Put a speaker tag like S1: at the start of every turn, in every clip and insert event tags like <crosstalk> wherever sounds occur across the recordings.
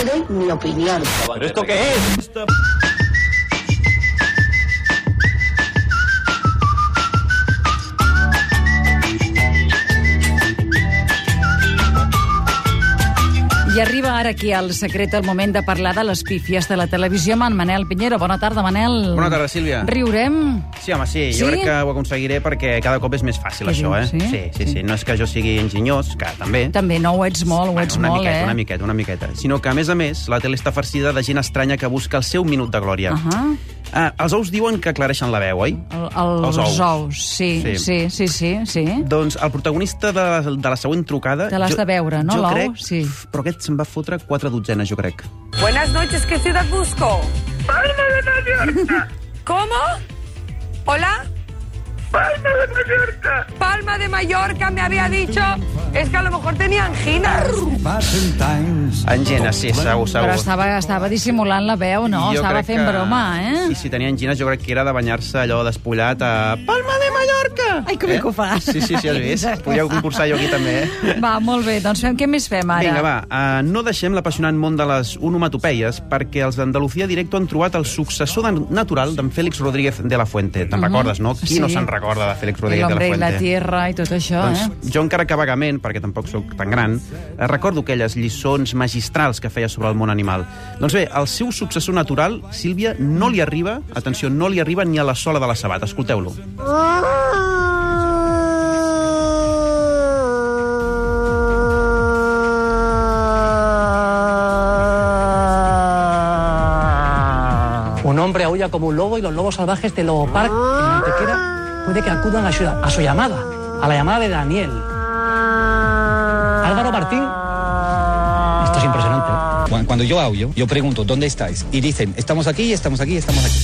S1: te doy mi opinión.
S2: ¿Pero esto qué es?
S3: I arriba ara aquí al secret el moment de parlar de les pífies de la televisió amb en Manel Pinheiro. Bona tarda, Manel.
S4: Bona tarda, Sílvia.
S3: Riurem?
S4: Sí, home, sí, jo
S3: Sí?
S4: crec que ho aconseguiré perquè cada cop és més fàcil,
S3: Que
S4: això, eh?
S3: dius, sí?
S4: Sí, sí, sí. No és que jo sigui enginyós, que també...
S3: També, no ho ets molt, ho
S4: Bueno,
S3: ets
S4: Ah, una
S3: molt,
S4: miqueta,
S3: eh?
S4: Una miqueta, una miqueta. Sinó que, a més a més, la tele està farcida de gent estranya que busca el seu minut de glòria.
S3: Ahà.
S4: ah, els ous diuen que aclareixen la veu, oi?
S3: El, el,
S4: Els ous.
S3: sí, sí,
S4: Sí.
S3: sí, sí, sí. sí.
S4: Doncs el protagonista de la, de la següent trucada...
S3: Te l'has
S4: jo-
S3: de veure, no,
S4: Jo
S3: l'ou?
S4: crec...
S3: Sí.
S4: Però aquest se'n va fotre quatre dotzenes, jo crec.
S5: Buenas noches, ¿qué ciudad busco?
S6: Palma de Mallorca,
S5: <laughs> ¿Cómo? ¿Hola?
S6: Palma de Mallorca.
S5: Palma de Mallorca me había dicho. Es que a lo mejor tenía angina.
S4: Engines, sí, segur, segur.
S3: Però estava, estava dissimulant la veu, no?
S4: Jo
S3: estava
S4: crec
S3: fent
S4: que-
S3: broma, eh?
S4: Sí, sí, tenia angines, jo crec que era de banyar-se allò despullat a Palma de Mallorca. Eh?
S3: Ai, que bé que ho fas.
S4: Sí, sí,
S3: <laughs>
S4: sí, has vist? Podríeu concursar jo aquí també, eh?
S3: Va, molt bé, doncs fem, què més fem ara?
S4: Vinga, va, uh, no deixem l'apassionant món de les onomatopeies perquè els d'Andalucía Directo han trobat el successor de natural d'en Félix Rodríguez de la Fuente. Te'n recordes, no? Qui no
S3: Sí.
S4: se'n recorda de Félix Rodríguez de la
S3: L'hombre i
S4: Fuente?
S3: la tierra i tot això,
S4: Doncs
S3: eh?
S4: jo encara que vagament, perquè tampoc sóc tan gran, eh, recordo aquelles lliçons magistrals que feia sobre el món animal. Doncs bé, el seu successor natural, Sílvia, no li arriba, atenció, no li arriba ni a la sola de la sabata. Escolteu-lo.
S7: Un hombre aúlla como un lobo y los lobos salvajes de Lobo Park en Antequera puede que acudan a su, a su llamada, a la llamada de Daniel. Álvaro Martín. Esto es impresionante. ¿eh?
S8: Cu- Cuando yo aullo, yo pregunto, ¿dónde estáis? Y dicen, estamos aquí, estamos aquí, estamos aquí.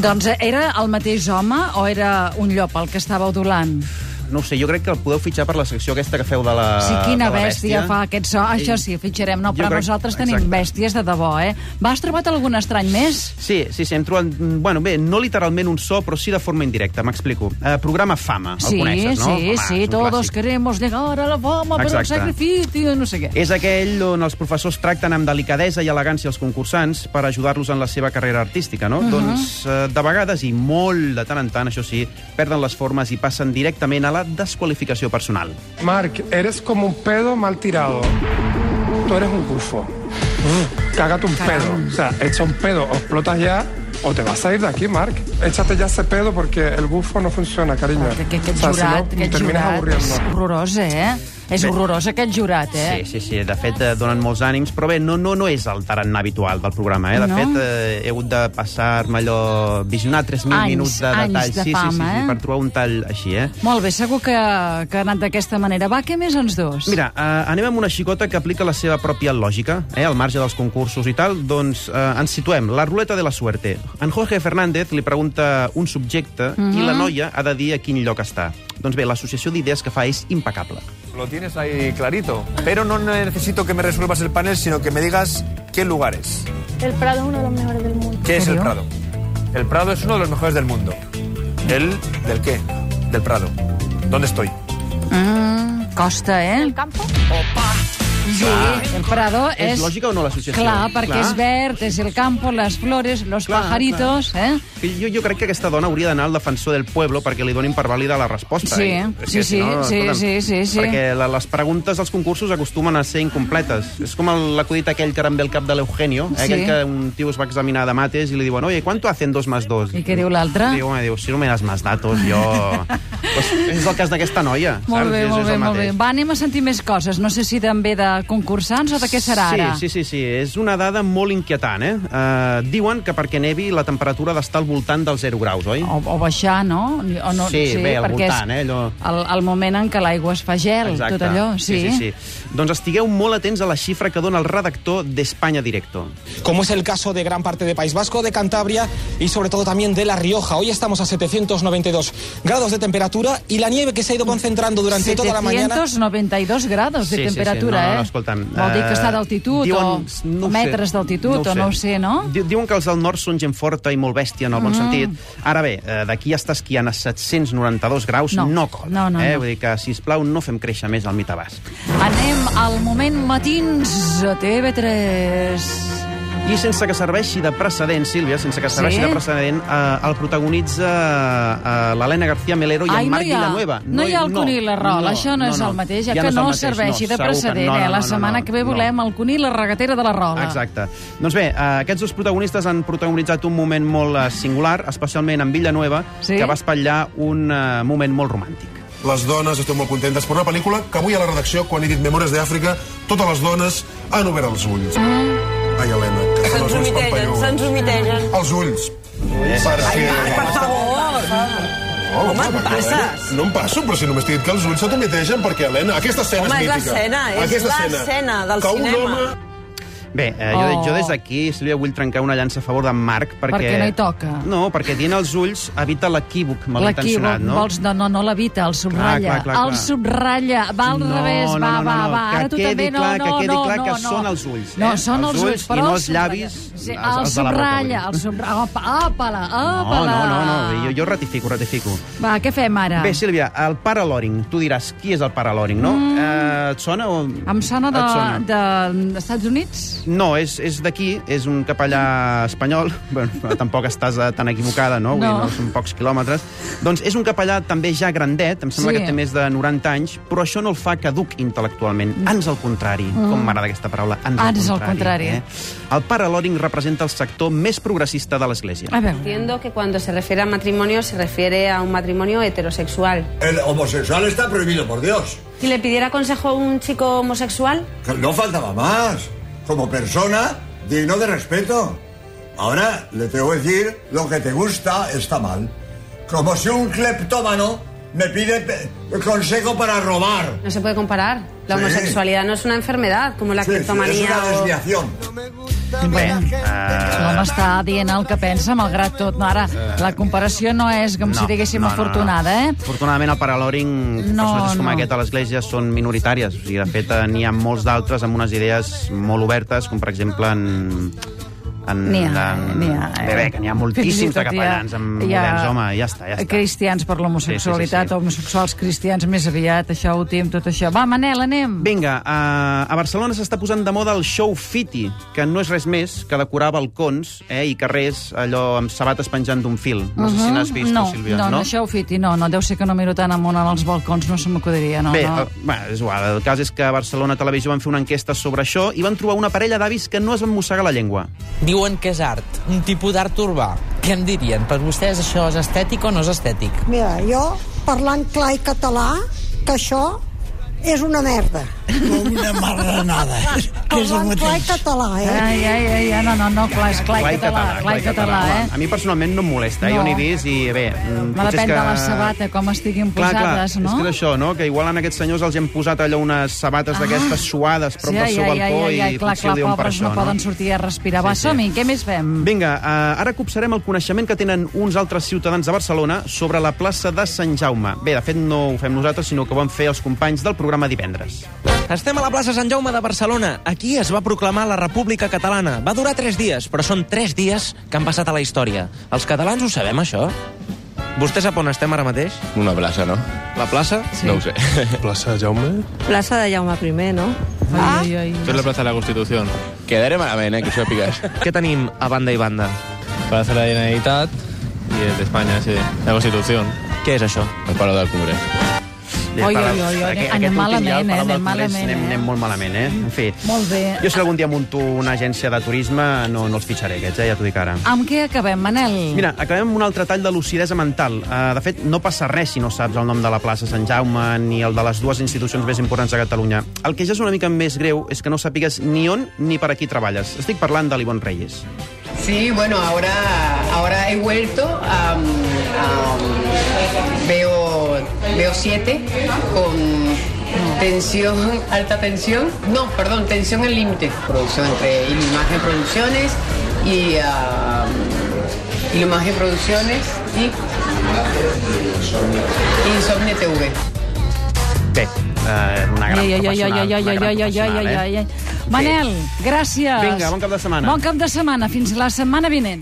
S3: Doncs eh, era el mateix home o era un llop el que estava odolant?
S4: No ho sé, jo crec que el podeu fitxar per la secció aquesta que feu de la
S3: Sí, quina
S4: de la
S3: bèstia,
S4: bèstia Eh,
S3: fa aquest so. Això sí, fitxarem. No,
S4: Jo
S3: però
S4: crec-
S3: nosaltres tenim
S4: Exacte.
S3: bèsties de debò, eh? Vas trobat algun estrany més?
S4: Sí, sí, sí, hem trobat... Bueno, bé, no literalment un so, però sí de forma indirecta, m'explico. Eh, programa Fama, el
S3: sí,
S4: coneixes, no?
S3: sí,
S4: Home,
S3: sí,
S4: és un
S3: todos
S4: clàssic.
S3: queremos llegar a la fama per un
S4: Exacte. Eh,
S3: sacrificio, no sé què.
S4: És aquell on els professors tracten amb delicadesa i elegància els concursants per ajudar-los en la seva carrera artística, no?
S3: Mhm.
S4: Doncs, eh, de vegades, i molt de tant en tant, això sí, perden les formes i passen directament a la desqualificació personal.
S9: Mark, eres como un pedo mal tirado. Tú eres un bufo. Cágate un pedo. O sea, echa un pedo, o explotas ya, o te vas a ir de aquí, Mark. Échate ya ese pedo porque el bufo no funciona, cariño.
S3: Ah, Que
S9: O
S3: aquest
S9: sea, si no,
S3: jurat, aquest
S9: terminas
S3: jurat, és
S9: aburriendo.
S3: horrorós, eh? És
S4: Bé.
S3: horrorós aquest jurat, eh?
S4: Sí, sí, sí. De fet, eh, donen molts ànims, però bé, no, no, no és el tarannà habitual del programa, eh? De
S3: No?
S4: fet, eh, he hagut de passar-me allò... visionar 3.000
S3: Anys,
S4: minuts de
S3: anys
S4: detall.
S3: de
S4: sí, sí, sí,
S3: fama,
S4: sí,
S3: eh?
S4: per trobar un tall així, eh?
S3: Molt bé, segur que, que ha anat d'aquesta manera. Va, què més ens dos?
S4: Mira, eh, anem amb una xicota que aplica la seva pròpia lògica, eh, al marge dels concursos i tal. Doncs eh, ens situem. La ruleta de la suerte. En Jorge Fernández li pregunta un subjecte i la noia ha de dir a quin lloc està. Doncs bé, l'associació d'idees que fa és impecable.
S10: Lo tienes ahí clarito. Pero no necesito que me resuelvas el panel, sino que me digas qué lugar es.
S11: El Prado es uno de los mejores del mundo.
S10: ¿Qué es el
S3: serio?
S10: Prado? El Prado es uno de los mejores del mundo. ¿El del qué? Del Prado. ¿Dónde estoy?
S3: Mm, costa, eh?
S11: El campo.
S3: Sí, el Prado és...
S4: És lògica o no, l'associació?
S3: Clar, perquè és verd, és el campo, les flores, los
S4: Clar,
S3: pajaritos, eh?
S4: Jo, jo crec que aquesta dona hauria d'anar al defensor del pueblo perquè li donin per vàlida la resposta. eh?
S3: Sí, sí, sí,
S4: I-
S3: sí,
S4: escolta'm,
S3: sí, sí, sí.
S4: Perquè la, les preguntes dels concursos acostumen a ser incompletes. És com el- l'acudit aquell que ara em ve el cap de l'Eugenio, eh,
S3: Sí.
S4: aquell que un tio es va examinar de mates i li diuen, oye, ¿cuánto hacen dos más dos?
S3: I què diu l'altre?
S4: Diu, home, diu, si no me das más datos,
S3: <laughs>
S4: jo... pues és el cas d'aquesta noia.
S3: Molt
S4: saps?
S3: bé,
S4: És-
S3: molt
S4: és
S3: bé,
S4: el
S3: molt bé.
S4: mateix.
S3: Va, anem a sentir més coses. No sé si també de concursants o de què serà
S4: sí,
S3: ara.
S4: Sí, sí, sí. És una dada molt inquietant, eh? Uh, diuen que perquè nevi la temperatura ha d'estar al voltant dels 0 graus, oi?
S3: O, o baixar, no? O no
S4: Sí, bé, al
S3: perquè
S4: voltant, eh, allò.
S3: El, el moment en què l'aigua es fa gel,
S4: Exacte.
S3: tot allò. Sí,
S4: sí, sí, sí. Doncs estigueu molt atents a la xifra que dona el redactor d'Espanya Directo.
S8: Como es el caso de gran parte de País Vasco, de Cantabria y sobre todo también de La Rioja. Hoy estamos a 792 grados de temperatura y la nieve que se ha ido concentrando durante toda la mañana.
S3: 792 grados de
S4: Sí, sí, sí.
S3: temperatura,
S4: No, no, escolta'm...
S3: Vol dir que
S4: eh,
S3: està d'altitud
S4: diuen-
S3: o- o metres d'altitud, o no ho sé, no? Mm.
S4: Di- Diuen que els del nord són gent forta i molt bèstia, en el bon sentit. Ara bé, eh, d'aquí està esquiant a 792 graus,
S3: No.
S4: no, cola.
S3: No, no,
S4: eh?
S3: no.
S4: Vull dir que, sisplau, no fem créixer més el mitabàs.
S3: Anem al moment matins a TV3.
S4: I sense que serveixi de precedent, Sílvia, sense que serveixi
S3: Sí?
S4: de precedent, eh, el protagonitza eh, l'Helena García Melero i
S3: Ai,
S4: en
S3: no
S4: Marc
S3: hi ha-
S4: Villanueva.
S3: no hi ha el Cunill a rol, això no és el mateix, ja que
S4: és
S3: no
S4: el mateix,
S3: serveixi de
S4: segur que
S3: precedent, eh? La setmana que ve volem el Cunill a la regatera de la rola.
S4: Exacte. Doncs bé, eh, aquests dos protagonistes han protagonitzat un moment molt eh, singular, especialment en Villanueva,
S3: Sí?
S4: que va espatllar un eh, moment molt romàntic.
S1: Les dones estem molt contentes per una pel·lícula que avui a la redacció, quan he dit Memòries d'Àfrica, totes les dones han obert els ulls.
S11: Mm.
S1: Ai, Helena, que són els ulls pampallons.
S5: humitegen.
S1: Els ulls. Perquè...
S5: favor.
S1: Oh,
S5: Home, et
S1: perquè,
S5: passes.
S1: Helena, No em passo, però si només t'he dit que els ulls s'autometegen perquè, Helena, aquesta escena
S5: Home,
S1: és
S5: és
S1: mítica.
S5: l'escena, és
S1: Aquesta
S5: l'escena del
S1: que
S5: cinema.
S1: un home
S4: Bé, eh, jo,
S3: Oh.
S4: jo des d'aquí, Sílvia, vull trencar una llança a favor d'en Marc, perquè...
S3: Perquè no hi toca.
S4: No, perquè dient els ulls evita l'equívoc malintencionat, no?
S3: vols... No, no, no l'evita, el subrotlla.
S4: clar, clar,
S3: El
S4: clar.
S3: subrotlla, va al
S4: No,
S3: revés,
S4: no,
S3: va,
S4: no,
S3: va,
S4: no,
S3: va.
S4: que
S3: Ara tu
S4: quedi
S3: també no,
S4: clar, que
S3: no,
S4: quedi
S3: no,
S4: clar
S3: no,
S4: que
S3: no.
S4: són els ulls,
S3: No,
S4: eh?
S3: són
S4: Els
S3: els ulls,
S4: ulls i
S3: però
S4: no
S3: el
S4: els llavis,
S3: subratlla. Sí,
S4: els-
S3: el
S4: els de la boca, vull dir.
S3: subrotlla, el subrotlla. Àpala,
S4: No,
S3: àpala.
S4: no, no, no, jo, jo ratifico, ratifico.
S3: Va, què fem ara?
S4: Bé, Sílvia, el pare Loring, tu diràs qui és el pare Loring, no? Mm. Eh, et sona o...
S3: Em sona de,
S4: Et sona?
S3: de, Estats Units?
S4: No, és, és d'aquí, és un capellà espanyol, <laughs> bueno, però tampoc estàs eh, tan equivocada, no? Vull dir,
S3: No.
S4: no són pocs quilòmetres. Doncs és un capellà també ja grandet, em sembla
S3: Sí.
S4: que té més de 90 anys, però això no el fa caduc intel·lectualment, ans al contrari, com m'agrada aquesta paraula, ans,
S3: Mm. Ans al
S4: al contrari.
S3: contrari.
S4: Eh? El pare Loring representa el sector més progressista de l'Església.
S3: A veure.
S5: Entiendo que cuando se refiere a matrimonio se refiere a un matrimonio heterosexual.
S1: El homosexual está prohibido, por Dios.
S5: Si le pidiera consejo a un chico homosexual,
S1: No faltaba más. Como persona, digno de respeto. Ahora le tengo que decir, lo que te gusta está mal. Como si un cleptómano me pide pe- consejo para robar.
S5: no se puede comparar. La
S1: Sí.
S5: homosexualidad no es una enfermedad como la
S1: Sí, sí, es
S5: criptomanía
S1: una
S5: o-
S1: desviación.
S4: Bé, Eh,
S3: L'home està dient el que pensa, malgrat tot. No, ara, la comparació no és com si diguéssim afortunada, eh?
S4: Afortunadament, el pare Loring,
S3: No,
S4: no, personatges com
S3: no.
S4: aquest a l'Església són minoritàries. O sigui, de fet, eh, n'hi ha molts d'altres amb unes idees molt obertes, com per exemple en... En,
S3: N'hi ha,
S4: en-
S3: n'hi ha. eh?
S4: Bé, bé, que n'hi ha moltíssims
S3: Fins i
S4: de
S3: tot hi ha-
S4: capellans amb
S3: hi ha
S4: moderns, home, ja està, ja està.
S3: Cristians per l'homosexualitat,
S4: Sí, sí, sí, sí.
S3: homosexuals cristians més aviat, això ho té amb tot això. Va, Manel, anem.
S4: Vinga, eh, a, a Barcelona s'està posant de moda el show fiti, que no és res més que decorar balcons eh, i carrers allò amb sabates penjant d'un fil. No sé si n'has vist,
S3: Mhm. no,
S4: tu, Sílvia.
S3: no, no, això ho fiti, no, no, deu ser que no miro tant amunt als balcons, no se m'acudiria, no,
S4: Bé,
S3: no.
S4: eh, bé, és igual. El cas és que a Barcelona Televisió van fer una enquesta sobre això i van trobar una parella d'avis que no es van mossegar la llengua.
S2: Diuen que és art, un tipus d'art urbà. Què en dirien? Per vostès això és estètic o no és estètic?
S11: Mira, jo, parlant clar i català, que això és una merda.
S2: Una marranada.
S11: Parlant clar i català, eh?
S3: Ai, ai, ai, ai, no, no, no, clar, és clar, i català, clar, i català, eh?
S4: A mi personalment no em molesta, eh?
S3: No.
S4: jo n'he vist i bé... mm,
S3: Va
S4: potser
S3: depèn
S4: és
S3: de la sabata, com estiguin
S4: Clar, clar,
S3: posades, no? Ah.
S4: és que és això, no? Que igual en aquests senyors els hi han posat allò unes sabates d'aquestes suades prop del seu balcó i
S3: clar,
S4: potser
S3: clar,
S4: ho diuen per
S3: pobres
S4: això,
S3: no, poden sortir a respirar. Va,
S4: Sí, sí.
S3: som-hi, què més fem?
S4: Vinga, eh, ara copsarem el coneixement que tenen uns altres ciutadans de Barcelona sobre la plaça de Sant Jaume. Bé, de fet, no ho fem nosaltres, sinó que ho van fer els companys del programa divendres.
S2: Estem a la plaça Sant Jaume de Barcelona. Aquí es va proclamar la República Catalana. Va durar tres dies, però són tres dies que han passat a la història. Els catalans ho sabem, això? Vostè sap on estem ara mateix?
S10: Una plaza, ¿no?
S2: La plaça?
S3: Sí. No ho
S2: sé.
S9: Plaça Jaume.
S11: eh?
S5: Plaza de Jaume I, ¿no?
S4: Ah.
S3: Ai, ai, ai.
S10: es la plaza de la Constitución. Quedaré malament, eh, que això piques.
S2: <laughs> Què tenim a banda i banda?
S10: Plaza de la Generalitat y el de España, sí. La Constitución.
S2: Què és això?
S10: El Palau del Congrés.
S4: Bé,
S3: Oi,
S4: Palau-
S3: oi, oi, oi,
S4: aquest-
S3: anem
S4: aquest últim
S3: malament,
S4: dia, el
S3: eh,
S4: Palau del
S3: anem
S4: Congrés,
S3: malament,
S4: Anem,
S3: eh.
S4: anem molt malament, eh? En fi.
S3: Molt bé.
S4: Jo si algun dia munto una agència de turisme, no, no els fitxaré aquests, eh? ja t'ho dic ara.
S3: Amb què acabem, Manel?
S4: Mira, acabem amb un altre tall de lucidesa mental. Uh, de fet, no passa res si no saps el nom de la plaça Sant Jaume ni el de les dues institucions més importants de Catalunya. El que ja és una mica més greu és que no sàpigues ni on ni per a qui treballes. Estic parlant de l'Ivon Reyes.
S2: Sí, bueno, ahora, ahora he vuelto a... veo, veo siete con tensión, <laughs> alta tensión. No, perdón, tensión al límite. Producción entre Imagen Producciones y Imagen Producciones y Insomnio TV.
S4: Bé, eh, una gran
S3: Ai, ai, ai,
S4: professional.
S3: ai, ai,
S4: una
S3: ai,
S4: gran
S3: ai, ai,
S4: professional,
S3: ai,
S4: eh?
S3: ai, ai. Manel, gràcies.
S4: Vinga, bon cap de setmana.
S3: Bon cap de setmana. Fins la setmana vinent.